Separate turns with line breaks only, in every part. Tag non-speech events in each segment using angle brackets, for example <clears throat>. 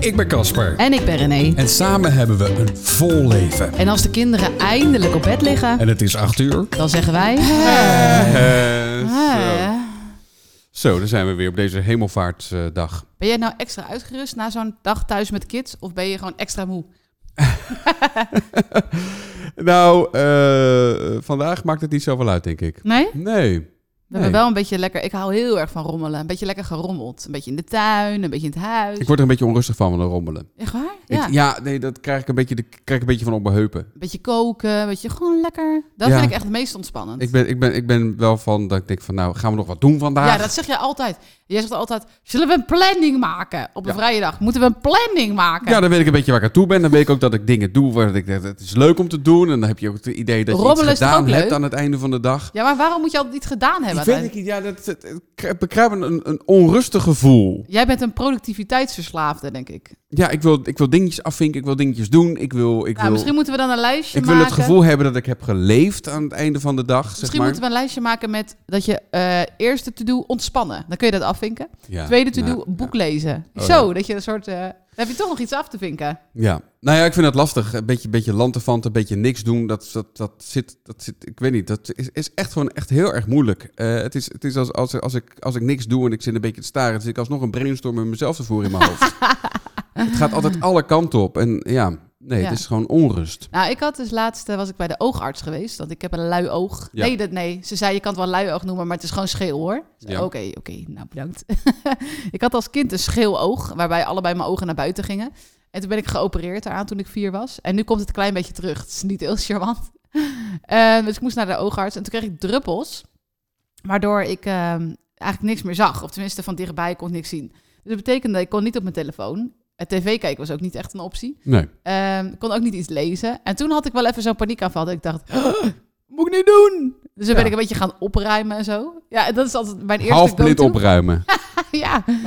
Ik ben Casper.
En ik ben René.
En samen hebben we een vol leven.
En als de kinderen eindelijk op bed liggen,
En het is acht uur.
dan zeggen wij...
zo.
"Ah."
eh, zo, dan zijn we weer op deze hemelvaartsdag.
Ben jij nou extra uitgerust na zo'n dag thuis met kids? Of ben je gewoon extra moe?
Nou, eh, vandaag maakt het niet zoveel uit, denk ik.
Nee?
Nee.
We hebben
Nee.
wel een beetje lekker... Ik hou heel erg van rommelen. Een beetje lekker gerommeld. Een beetje in de tuin, een beetje in het huis.
Ik word er een beetje onrustig van, van de rommelen.
Echt waar?
Ik-
Ja.
ja, nee, dat krijg ik een beetje, de, krijg ik een beetje van op mijn heupen.
Een beetje koken, een beetje gewoon lekker. Dat
Ja.
vind ik echt het meest ontspannend.
Ik ben, ik, ben, ik ben wel van dat ik denk van, nou, gaan we nog wat doen vandaag?
Ja, dat zeg jij altijd. Jij zegt altijd, zullen we een planning maken? Op een
Ja.
vrije dag moeten we een planning maken.
Ja, dan weet ik een beetje waar ik aan toe ben. Dan weet ik ook dat ik dingen doe waar ik denk, het is leuk om te doen. En dan heb je ook het idee dat je iets
Rommelen is toch
gedaan
ook
hebt
leuk?
aan het einde van de dag.
Ja, maar waarom moet je altijd iets gedaan hebben?
Ik weet het niet, ja, dat, dat, ik krijg- ik bekruip een, een onrustig gevoel.
Jij bent een productiviteitsverslaafde, denk ik.
Ja, ik wil, ik wil dingetjes afvinken, ik wil dingetjes doen. Ik wil, ik
nou,
wil,
misschien moeten we dan een lijstje
ik wil
maken.
het gevoel hebben dat ik heb geleefd aan het einde van de dag, zeg
misschien
maar.
moeten we een lijstje maken met dat je eh, eerste to-do ontspannen. Dan kun je dat afvinken.
Ja,
Tweede to-do
nou,
boek
ja.
lezen.
Oh,
Zo, dat je een soort... eh, dan heb je toch nog iets af te vinken.
Ja. nou ja, ik vind dat lastig. Een beetje, beetje lantefanten, een beetje niks doen. Dat, dat, dat, zit, dat zit, ik weet niet, dat is, is echt gewoon echt heel erg moeilijk. Eh, het is, het is als, als, als, ik, als ik niks doe en ik zit een beetje te staren, dan zit ik alsnog een brainstorm met mezelf te voeren in
<laughs>
mijn hoofd. het gaat altijd alle kanten op. En ja, nee,
Ja.
het is gewoon onrust.
Nou, ik had dus laatst eh, was ik bij de oogarts geweest, want ik heb een lui oog.
Ja.
Nee, dat, nee, ze zei je kan het wel lui oog noemen, maar het is gewoon scheel hoor. Ik zei,
Ja.
Oké, oké, nou bedankt. <laughs> ik had als kind een scheel oog, waarbij allebei mijn ogen naar buiten gingen. En toen ben ik geopereerd eraan toen ik vier was. En nu komt het een klein beetje terug. Het is niet heel <laughs> charmant. Eh, dus ik moest naar de oogarts en toen kreeg ik druppels, waardoor ik eh, eigenlijk niks meer zag. Of tenminste van dichtbij kon ik niks zien. Dus dat betekende, ik kon niet op mijn telefoon. Het tv kijken was ook niet echt een optie.
Nee.
Ehm, ik kon ook niet iets lezen. En toen had ik wel even zo'n paniekaanval. Dat ik dacht, moet ik niet doen? Dus dan ben
Ja.
ik een beetje gaan opruimen en zo. Ja, dat is altijd mijn eerste
Half blind
go-to.
opruimen.
<laughs> ja.
Nou,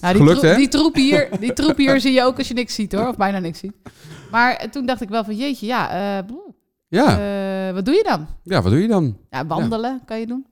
Nou, die,
Gelukt,
troep-
hè?
die, troep hier, die troep hier zie je ook als je niks ziet hoor. Of bijna niks ziet. Maar eh, toen dacht ik wel van, jeetje, ja, eh, boe,
Ja.
eh, wat doe je dan?
ja, wat doe je dan?
Ja, wandelen kan je doen.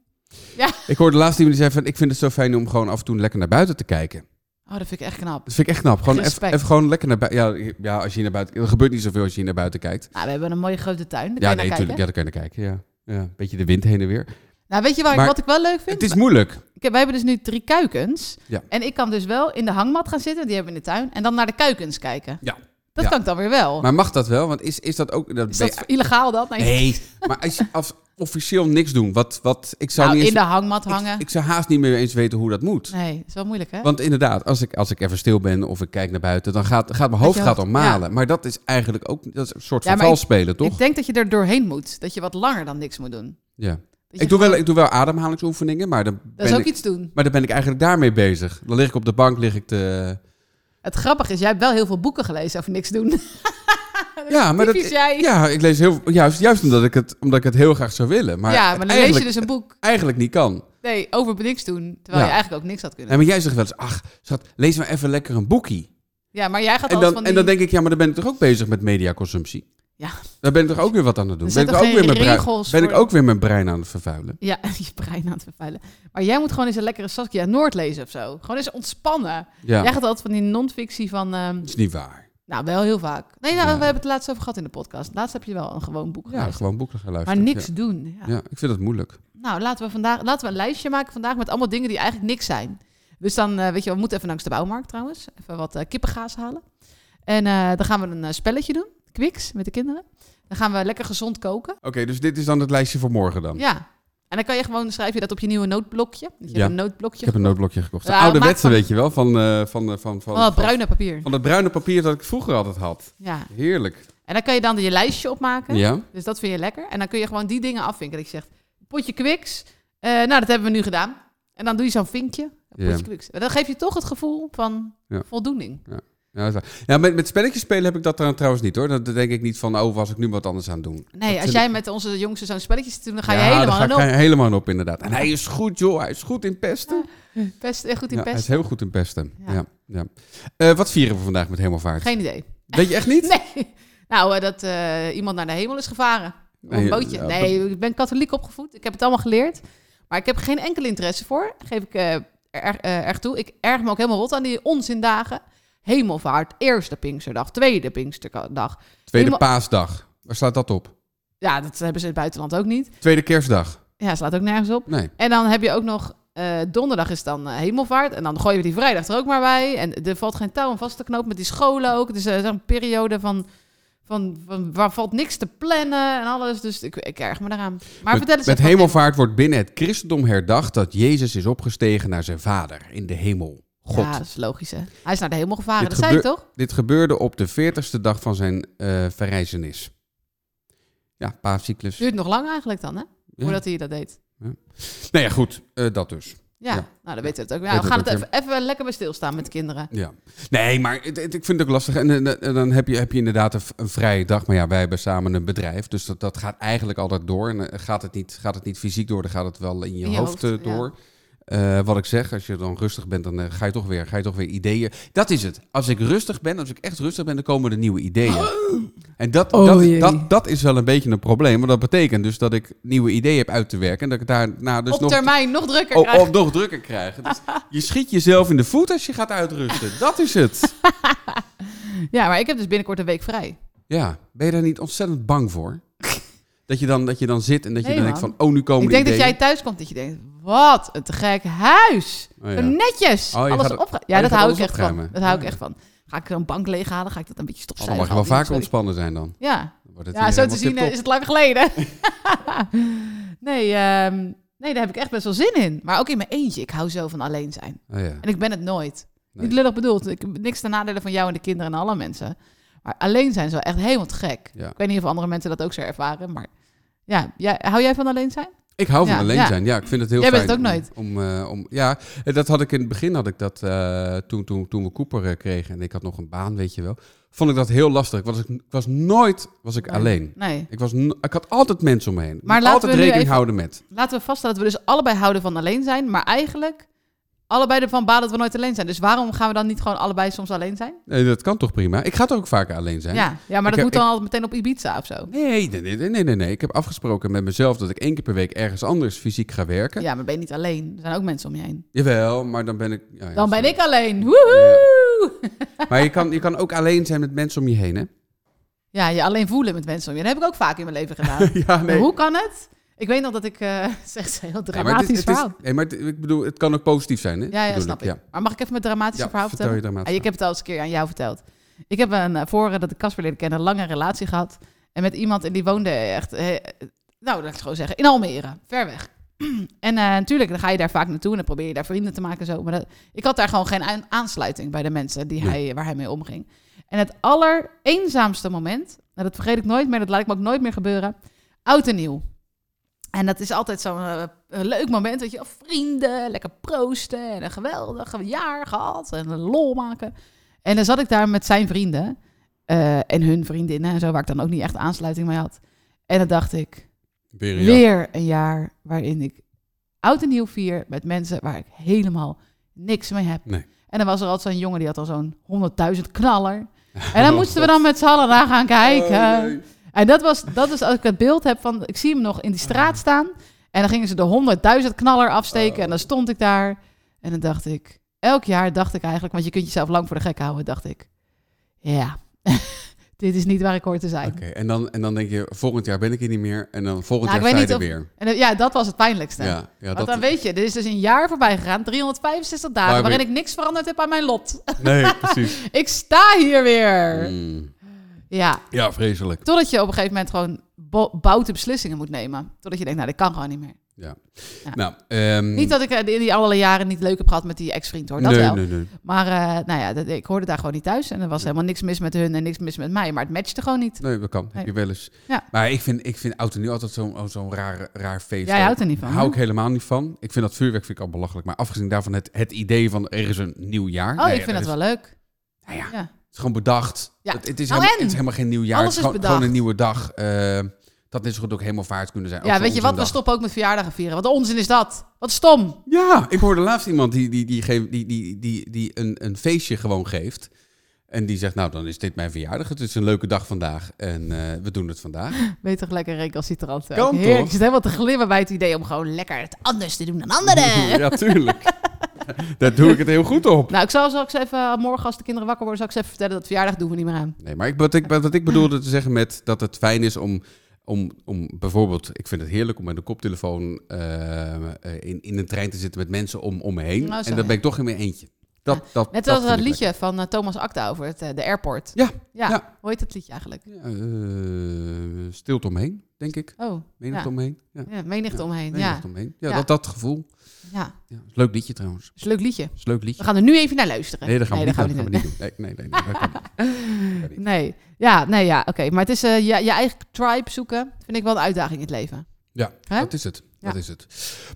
Ik hoorde laatst iemand die zei van... ik vind het zo fijn om gewoon af en toe lekker naar buiten te kijken.
Oh, dat vind ik echt knap.
Dat vind ik echt knap. Gewoon even
Respect.
even gewoon lekker naar buiten. Ja, ja, als je naar buiten... Er gebeurt niet zoveel als je naar buiten kijkt.
Nou, we hebben een mooie grote tuin.
Ja,
Daar kan je
nee,
naar
tuurlijk.
kijken.
Ja, daar kan je naar kijken, ja. Ja, een beetje de wind heen en weer.
Nou, weet je waar, ik-
Maar-
wat ik wel leuk vind?
Het is moeilijk.
Kijk, wij hebben dus nu drie kuikens.
Ja.
En ik kan dus wel in de hangmat gaan zitten, die hebben we in de tuin, en dan naar de kuikens kijken.
Ja.
Dat
Ja.
kan ik dan weer wel.
Maar mag dat wel? Want is, is dat ook... Dat
is
ben
dat illegaal dan?
je- nee, maar als, je- als officieel niks doen. Wat, wat, ik zou
nou,
niet
in de
eens,
hangmat hangen.
ik, ik zou haast niet meer eens weten hoe dat moet.
nee, is wel moeilijk hè?
Want inderdaad, als ik, als ik even stil ben of ik kijk naar buiten, dan gaat, gaat mijn
je
hoofd gaat
hoofd,
malen. Maar dat is eigenlijk ook dat is een soort
Ja,
van
maar ik-
valspelen, toch?
Ik denk dat je er doorheen moet. Dat je wat langer dan niks moet doen.
ja.
Dat je
ik, doe wel,
gewoon-
ik doe wel ademhalingsoefeningen, maar dan,
Dat is
ben
ook
ik,
iets doen.
maar dan ben ik eigenlijk daarmee bezig. Dan lig ik op de bank, lig ik te...
Het grappige is, jij hebt wel heel veel boeken gelezen over niks doen.
Ja, Ah, maar
<laughs> Typisch jij.
ja, ik lees heel juist, juist omdat, ik het, omdat ik het heel graag zou willen. Maar,
ja,
het
maar dan lees
eigenlijk,
je dus een boek
eigenlijk niet kan.
nee, over niks doen. Terwijl
Ja.
je eigenlijk ook niks had kunnen
Nee, maar jij zegt wel eens, ach, schat, lees maar even lekker een boekie.
doen. Ja, maar jij gaat
En
altijd
dan,
van die...
en dan denk ik, ja, maar dan ben ik toch ook bezig met mediaconsumptie?
Ja.
Daar ben ik toch ook weer wat aan het doen?
Er
Ben
zijn
ik,
toch
ook weer
geen
mijn brein,
regels
ben ik
voor-
ook weer mijn brein aan het vervuilen?
Ja, <laughs> je brein aan het vervuilen. Maar jij moet gewoon eens een lekkere Saskia Noord lezen of zo. Gewoon eens ontspannen.
Ja,
Jij gaat altijd van die non-fictie van... ehm,
dat is niet waar.
Nou, wel heel vaak. Nee, nou,
Ja.
we hebben het laatst over gehad in de podcast. Laatst heb je wel een gewoon boek
Ja,
gelezen.
gewoon boeken gaan
maar
luisteren.
niks
Ja.
doen. Ja.
Ja. ik vind dat moeilijk.
Nou, laten we, vandaag, laten we een lijstje maken vandaag met allemaal dingen die eigenlijk niks zijn. Dus dan, eh, weet je, we moeten even langs de bouwmarkt trouwens. Even wat eh, kippengaas halen. En eh, dan gaan we een eh, spelletje doen. Quicks met de kinderen. Dan gaan we lekker gezond koken.
Oké, dus dit is dan het lijstje voor morgen dan.
Ja. En dan kan je gewoon, schrijf je dat op je nieuwe noodblokje. Dus je
Ja.
hebt
Ik
een noodblokje.
heb een noodblokje gekocht. De
Ja,
oude
maak
wetsen,
van-
weet je wel, van, eh, van, eh, van, van,
Oh,
van,
bruine papier.
van dat bruine papier dat ik vroeger altijd had.
Ja.
Heerlijk.
En dan kan je dan je lijstje opmaken.
Ja?
Dus dat vind je lekker. En dan kun je gewoon die dingen afvinken. Dat je zegt, potje kwiks. Eh, nou, dat hebben we nu gedaan. En dan doe je zo'n vinkje. Potje
Ja.
kwiks. Maar dan geef je toch het gevoel van
Ja.
voldoening.
Ja, dat is waar. ja met, met spelletjes spelen heb ik dat dan trouwens niet hoor. Dan denk ik niet van, oh, was ik nu wat anders aan het doen.
Nee,
Dat
als
vind
jij met onze jongste zo'n spelletje zit te doen, dan ga je
Ja, daar
helemaal
ga ik
aan op.
he- helemaal aan op inderdaad. En hij is goed joh, hij is goed in pesten.
Best, eh, goed in
Ja, hij is
pest.
heel goed in pesten. Ja.
Ja.
Ja, Eh, wat vieren we vandaag met Hemelvaart?
Geen idee.
Weet je echt niet?
Nee. Nou, eh, dat eh, iemand naar de hemel is gevaren. Op een
Nee,
bootje.
ja,
nee, ik ben katholiek opgevoed. Ik heb het allemaal geleerd. Maar ik heb geen enkele interesse voor. Geef ik eh, er- eh, erg toe. Ik erg me ook helemaal rot aan die onzindagen. hemelvaart, eerste Pinksterdag, tweede Pinksterdag.
Tweede
Helemaal-
paasdag. Waar staat dat op?
Ja, dat hebben ze in het buitenland ook niet.
Tweede kerstdag.
Ja, slaat ook nergens op.
Nee.
En dan heb je ook nog, eh, donderdag is dan eh, hemelvaart. En dan gooien we die vrijdag er ook maar bij. En er valt geen touw aan vast te knopen met die scholen ook. Het is eh, zo'n periode van, van, van, waar valt niks te plannen en alles. Dus ik, ik erg me daaraan. Maar vertel
met
eens
met
even wat
hemelvaart wordt binnen het christendom herdacht dat Jezus is opgestegen naar zijn vader in de hemel. God.
Ja, dat is logisch, hè? Hij is naar de hemel gevaren,
Dit
dat zei ik toch?
Dit gebeurde op de 40ste dag van zijn eh verrijzenis. Ja, paascyclus.
Duurt nog lang eigenlijk dan, hè?
Ja.
Voordat hij dat deed.
Nou ja, goed, eh, dat dus. Ja.
Ja, nou, dan weten we het ook.
Weet
Ja, we gaan
het
het
ook,
even, even lekker bij stilstaan met de kinderen.
Ja. Nee, maar het- het- ik vind het ook lastig. En, eh, eh, dan heb je, heb je inderdaad een, v- een vrije dag. Maar ja, wij hebben samen een bedrijf. Dus dat, dat gaat eigenlijk altijd door. En eh, gaat het, niet, gaat het niet fysiek door, dan gaat het wel in je,
In je
hoofd,
hoofd,
eh,
ja.
door. Eh, wat ik zeg, als je dan rustig bent, dan eh, ga, je toch weer, ga je toch weer ideeën. Dat is het. Als ik rustig ben, als ik echt rustig ben, dan komen er nieuwe ideeën. En dat,
Oh,
dat,
jee.
dat, dat is wel een beetje een probleem. Want dat betekent dus dat ik nieuwe ideeën heb uit te werken. En dat ik daarna dus
Op
nog
termijn nog drukker
Oh,
krijgen.
of nog drukker krijgen. Dus
<laughs>
je schiet jezelf in de voet als je gaat uitrusten. Dat is het. oh.
Ja, maar ik heb dus binnenkort een week vrij.
Ja, ben je daar niet ontzettend bang voor? Dat je dan, dat je dan zit en dat je
Nee,
dan
man.
denkt van, oh, nu komen
Ik denk
de
dat jij
ideeën.
thuis komt dat je denkt, wat een te gek huis.
Oh, ja.
Zo netjes.
Oh, je
alles
gaat-
opge-
je
Ja,
gaat
dat hou
alles
ik echt
opruimen.
van. Dat hou ik
Ja.
echt van. Ga ik zo'n bank leeghalen? Ga ik dat een beetje
Oh, dan
stofzuigen?
mag je wel vaker
Sorry.
ontspannen zijn dan.
Ja,
Dan wordt het
ja
hier
zo te
helemaal
zien eh,
tip-top.
is het lang geleden. <laughs> nee, ehm, nee, daar heb ik echt best wel zin in. Maar ook in mijn eentje. Ik hou zo van alleen zijn.
Oh, ja.
En ik ben het nooit.
Nee.
Niet lullig bedoeld. Ik, niks ten nadele van jou en de kinderen en alle mensen. Maar alleen zijn is wel echt helemaal te gek.
Ja.
Ik weet niet of andere mensen dat ook zo ervaren. Maar ja, jij, hou jij van alleen zijn?
Ik hou van
Ja,
alleen
ja.
zijn. Ja, ik vind het heel
Jij bent
fijn.
het ook nooit.
Om, eh, om, ja, eh, dat had ik in het begin, had ik dat, eh, toen, toen, toen we Cooper eh, kregen en ik had nog een baan, weet je wel. Vond ik dat heel lastig. Ik was, ik was nooit was ik
Nee.
alleen.
Nee.
Ik, was no- ik had altijd mensen om me heen. Ik
Maar
moet
laten
altijd
we nu
rekening
even-
houden met.
Laten we vaststellen dat we dus allebei houden van alleen zijn. Maar eigenlijk allebei ervan baden dat we nooit alleen zijn. Dus waarom gaan we dan niet gewoon allebei soms alleen zijn?
Nee, dat kan toch prima? Ik ga toch ook vaker alleen zijn?
Ja, ja maar
Ik
dat
heb-
moet dan al meteen op Ibiza of zo.
Nee, nee, nee, nee, nee, nee. Ik heb afgesproken met mezelf dat ik één keer per week ergens anders fysiek ga werken.
Ja, maar ben je niet alleen. Er zijn ook mensen om je heen.
Jawel, maar dan ben ik... ja, ja,
Dan ben
sorry.
ik alleen. Woehoe!
Maar je kan, je kan ook alleen zijn met mensen om je heen, hè?
<laughs> Ja, je alleen voelen met mensen om je heen. Dat heb ik ook vaak in mijn leven
<laughs>
gedaan.
Ja,
Maar Hoe kan het? Ik weet nog dat ik... eh <laughs> zeg, het is een heel
Nee, maar
dramatisch
het is- het is-
verhaal.
nee, maar het- ik bedoel, het kan ook positief zijn, hè?
Ja, ja,
Bedoel
snap ik.
Ja.
Maar mag ik even mijn dramatische
Ja,
verhaal
vertel
vertellen?
je daar maar.
Ah, ik heb het al eens een keer aan jou verteld. Ik heb een, eh, voor eh, dat ik Casper leerde kennen, een lange relatie gehad. En met iemand, en die woonde echt, eh, nou, laat ik het gewoon zeggen, in Almere. Ver weg. <clears throat> en eh, natuurlijk, dan ga je daar vaak naartoe en dan probeer je daar vrienden te maken en zo. Maar dat, ik had daar gewoon geen aan- aansluiting bij de mensen die
Nee.
hij, eh, waar hij mee omging. En het allereenzaamste moment, nou, dat vergeet ik nooit meer, dat laat ik me ook nooit meer gebeuren, oud en nieuw. En dat is altijd zo'n eh, een leuk moment, weet je wel, vrienden, lekker proosten en een geweldig jaar gehad en een lol maken. En dan zat ik daar met zijn vrienden eh, en hun vriendinnen en zo, waar ik dan ook niet echt aansluiting mee had. En dan dacht ik,
Weer, ja.
weer een jaar waarin ik oud en nieuw vier met mensen waar ik helemaal niks mee heb.
Nee.
En dan was er altijd zo'n jongen die had al zo'n 100.000 knaller. En dan
<laughs> Oh,
moesten
God.
we dan met z'n allen naar gaan kijken.
Oh, nee.
En dat was, dat is als ik het beeld heb van, ik zie hem nog in die straat staan. En dan gingen ze de 100.000 knaller afsteken.
Oh.
En dan stond ik daar. En dan dacht ik, elk jaar dacht ik eigenlijk, want je kunt jezelf lang voor de gek houden, dacht ik. Ja, <laughs> dit is niet waar ik hoor te zijn.
Oké, en, dan, en dan denk je, volgend jaar ben ik hier niet meer. En dan volgend
Nou,
jaar
ik
sta je
weet
er
niet
weer.
En dat- ja, dat was het pijnlijkste.
Ja, ja,
Want dan weet je, er is dus een jaar voorbij gegaan, 365 dagen,
Maar-
waarin ik niks veranderd heb aan mijn lot. <laughs>
Nee, precies.
ik sta hier weer.
Mm.
Ja,
Ja, vreselijk.
totdat je op een gegeven moment gewoon bo- boute beslissingen moet nemen. Totdat je denkt, nou, dit kan gewoon niet meer.
Nou, ehm,
Niet dat ik eh, die, die allerlei jaren niet leuk heb gehad met die ex-vriend hoor, dat
nee,
wel.
nee, nee.
Maar eh, nou ja, dat, ik hoorde daar gewoon niet thuis en er was helemaal niks mis met hun en niks mis met mij. Maar het matchte gewoon niet.
Nee, dat kan. Heb
Nee.
je wel eens.
Ja.
Maar ik vind, ik vind oud en nieuw altijd zo'n oh, zo'n raar, raar feest.
Jij
ook.
houdt er niet van,
Hou
hè?
ik helemaal niet van. Ik vind dat vuurwerk vind ik al belachelijk. Maar afgezien daarvan het, het idee van er is een nieuw jaar.
Oh, ik vind dat wel leuk.
Nou ja,
Ja.
het is gewoon bedacht.
Ja.
Het, het is
Nou,
helemaal,
en?
het is helemaal geen nieuw jaar.
Alles
het is,
is
gewoon, gewoon een nieuwe
bedacht.
dag. Eh, dat is zo goed ook helemaal vaart kunnen zijn. Ook
Ja,
zo'n
weet je wat? We
onzindag.
stoppen ook met verjaardagen vieren. Wat onzin is dat? Wat stom.
Ja, ik hoorde laatst iemand die, die, die, geef- die, die, die, die een, een feestje gewoon geeft. En die zegt, nou dan is dit mijn verjaardag. Het is een leuke dag vandaag. En eh, we doen het vandaag.
Weet toch lekker recalcitrant. zijn.
Kan
Heerlijk.
toch? <laughs>
<laughs> Ik zit helemaal te glimmen bij het idee om gewoon lekker het anders te doen dan anderen.
ja, tuurlijk. Daar doe ik het heel goed op.
Nou, ik zal, zal ik ze even morgen als de kinderen wakker worden, zal ik ze even vertellen dat verjaardag doen we niet meer aan.
Nee, maar ik, wat, ik, wat ik bedoelde te zeggen met dat het fijn is om, om, om bijvoorbeeld, ik vind het heerlijk om met een koptelefoon eh, in, in een trein te zitten met mensen om, om me heen.
Nou, zo,
en dan
ja.
ben ik toch in mijn eentje. Dat, dat,
Net
dat
als dat
vind ik
liedje van eh, Thomas Akta over het, eh, de airport.
Ja,
ja.
ja.
Hoe heet dat liedje eigenlijk?
lekker. Ja, eh, stilte omheen, denk ik.
Oh,
Menigte
ja.
omheen. Ja,
ja, menigte
Ja,
omheen. Ja.
menigte omheen. Ja,
Ja.
Dat, dat gevoel.
ja,
Ja, is een leuk liedje trouwens.
is een leuk liedje.
Is een leuk
We
liedje.
gaan er nu even naar luisteren.
Nee, dat gaan we,
dat
niet, doen. Dat gaan we niet doen. Nee, nee, nee. nee, dat kan niet. Dat
<laughs>
kan niet.
Nee, ja, nee, ja, oké. Maar het is eh, je, je eigen tribe zoeken, vind ik wel een uitdaging in het leven.
Ja,
Hè?
dat is het.
Ja.
Dat is het.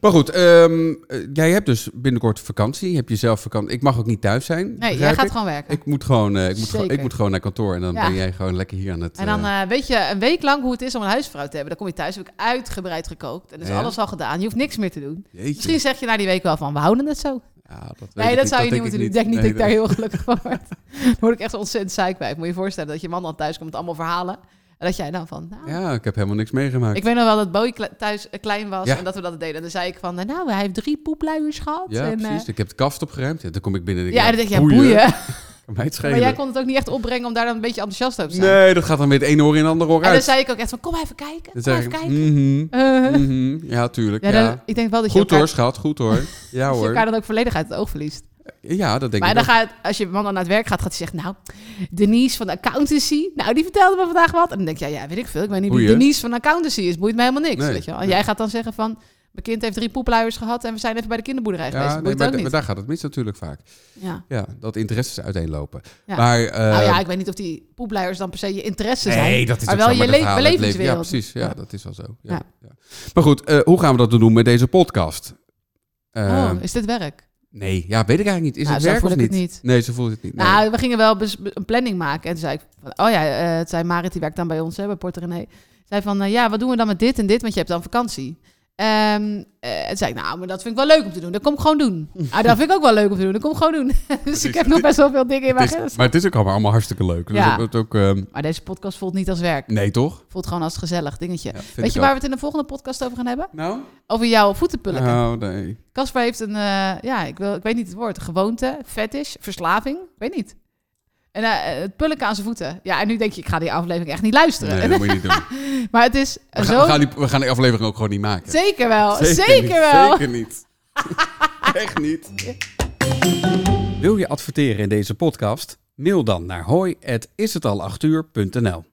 Maar goed, ehm, eh, jij hebt dus binnenkort vakantie. Heb je zelf vakantie? Ik mag ook niet thuis zijn.
Nee, jij
begrijp
gaat
ik.
gewoon werken.
Ik moet gewoon, eh, ik moet gewoon, ik
Zeker.
moet gewoon naar kantoor en dan
Ja.
ben jij gewoon lekker hier aan het.
en dan
eh,
eh, weet je een week lang hoe het is om een huisvrouw te hebben. Dan kom je thuis, heb ik uitgebreid gekookt. En is
Ja?
alles al gedaan. Je hoeft niks meer te doen.
jeetje.
Misschien zeg je na die week wel van, we houden het zo.
Ja, dat weet
eh, Nee,
ik
dat zou je niet
denk
moeten doen. Ik denk niet dat ik daar
Nee,
heel gelukkig van word. <laughs> Dan word ik echt ontzettend zeik bij. Ik Moet je je voorstellen dat je man dan thuis komt met allemaal verhalen. En dat jij dan van, nou,
dat- Ja, ik heb helemaal niks meegemaakt.
Ik weet nog wel dat Bowie kle- thuis eh, klein was
Ja.
en dat we dat deden. En dan zei ik van, nou, hij heeft drie poepluiers gehad.
ja,
en, eh,
precies. Ik heb de kaft opgeruimd. Ja, dan kom ik binnen. en
ja, en dan denk je, ja,
boeien.
boeien.
Kan mij het
Maar jij
schelen.
kon het ook niet echt opbrengen om daar dan een beetje enthousiast over te zijn.
Nee, dat gaat dan weer het ene oor in het andere oor
en dan
uit.
zei ik ook echt van, kom even kijken, kom
zeg
even
ik,
kijken.
mhm,
<laughs> Eh,
mhm. ja, tuurlijk.
ja,
Ja,
dan- Ik denk wel dat je,
Goed hoor,
elkaar,
schat. Goed
<laughs>
hoor. Ja
dat je elkaar
hoor.
dan ook volledig uit het oog verliest.
Ja, dat denk
maar
ik
dan
ook.
gaat, als je man dan naar het werk gaat, gaat hij zeggen, nou, Denise van de accountancy, nou, die vertelde me vandaag wat. En dan denk je, ja, weet ik veel, ik weet niet wie
Boeien.
Denise van accountancy is, boeit mij helemaal niks.
Nee,
weet je wel. En
nee.
jij gaat dan zeggen van, mijn kind heeft drie poepluiers gehad en we zijn even bij de kinderboerderij
Ja,
geweest,
nee,
boeit
maar,
ook
da-
niet.
maar daar gaat het mis natuurlijk vaak.
ja.
Ja, dat interesses uiteenlopen.
Ja.
Maar, eh,
nou ja, ik weet niet of die poepluiers dan per se je interesse zijn.
nee, dat is
maar
ook
wel
zo,
je
dat
le-
verhaal, het leven- Ja,
belevingswereld.
precies. Ja,
Ja.
dat is wel zo. Ja,
Ja.
ja. Maar goed, eh, hoe gaan we dat dan doen met deze podcast? Eh,
oh, is dit werk?
Nee, ja, weet ik eigenlijk niet. Is
Nou,
het
zo
werk
voel
of
ik het
niet?
niet.
Nee, ze voelt het niet. Nee.
Nou, we gingen wel bes- be- een planning maken. En toen zei ik, van, oh ja, eh, het zei Marit, die werkt dan bij ons, hè, bij Porto René. Zei van, eh, ja, wat doen we dan met dit en dit? Want je hebt dan vakantie. Ehm eh, en toen zei ik, nou, maar dat vind ik wel leuk om te doen. Dat kom ik gewoon doen.
<laughs>
ah, dat vind ik ook wel leuk om te doen. Dat kom ik gewoon doen. <laughs> dus ik heb nog best wel veel dingen in mijn
het
agenda.
is, maar het is ook allemaal, allemaal hartstikke leuk. Dus
Ja.
dat- dat ook, ehm,
Maar deze podcast voelt niet als werk.
nee, toch?
Voelt gewoon als gezellig dingetje.
Ja, vind
Weet
ik
je
ook.
waar we het in de volgende podcast over gaan hebben?
Nou?
Over jouw voetenpulken.
Oh, nee.
Casper heeft een, eh, ja, ik, wil, ik weet niet het woord, gewoonte, fetish, verslaving, ik weet niet. En eh, het pulken aan zijn voeten. Ja, en nu denk je, ik ga die aflevering echt niet luisteren.
Nee, dat moet je niet doen. We,
<laughs> maar het is
gaan,
zo...
we, gaan die, we gaan die aflevering ook gewoon niet maken.
Zeker wel, zeker,
niet,
wel.
Zeker
<laughs>
niet. Echt niet. Wil je adverteren in deze podcast? Mail dan naar hoi@ishetal8uur.nl.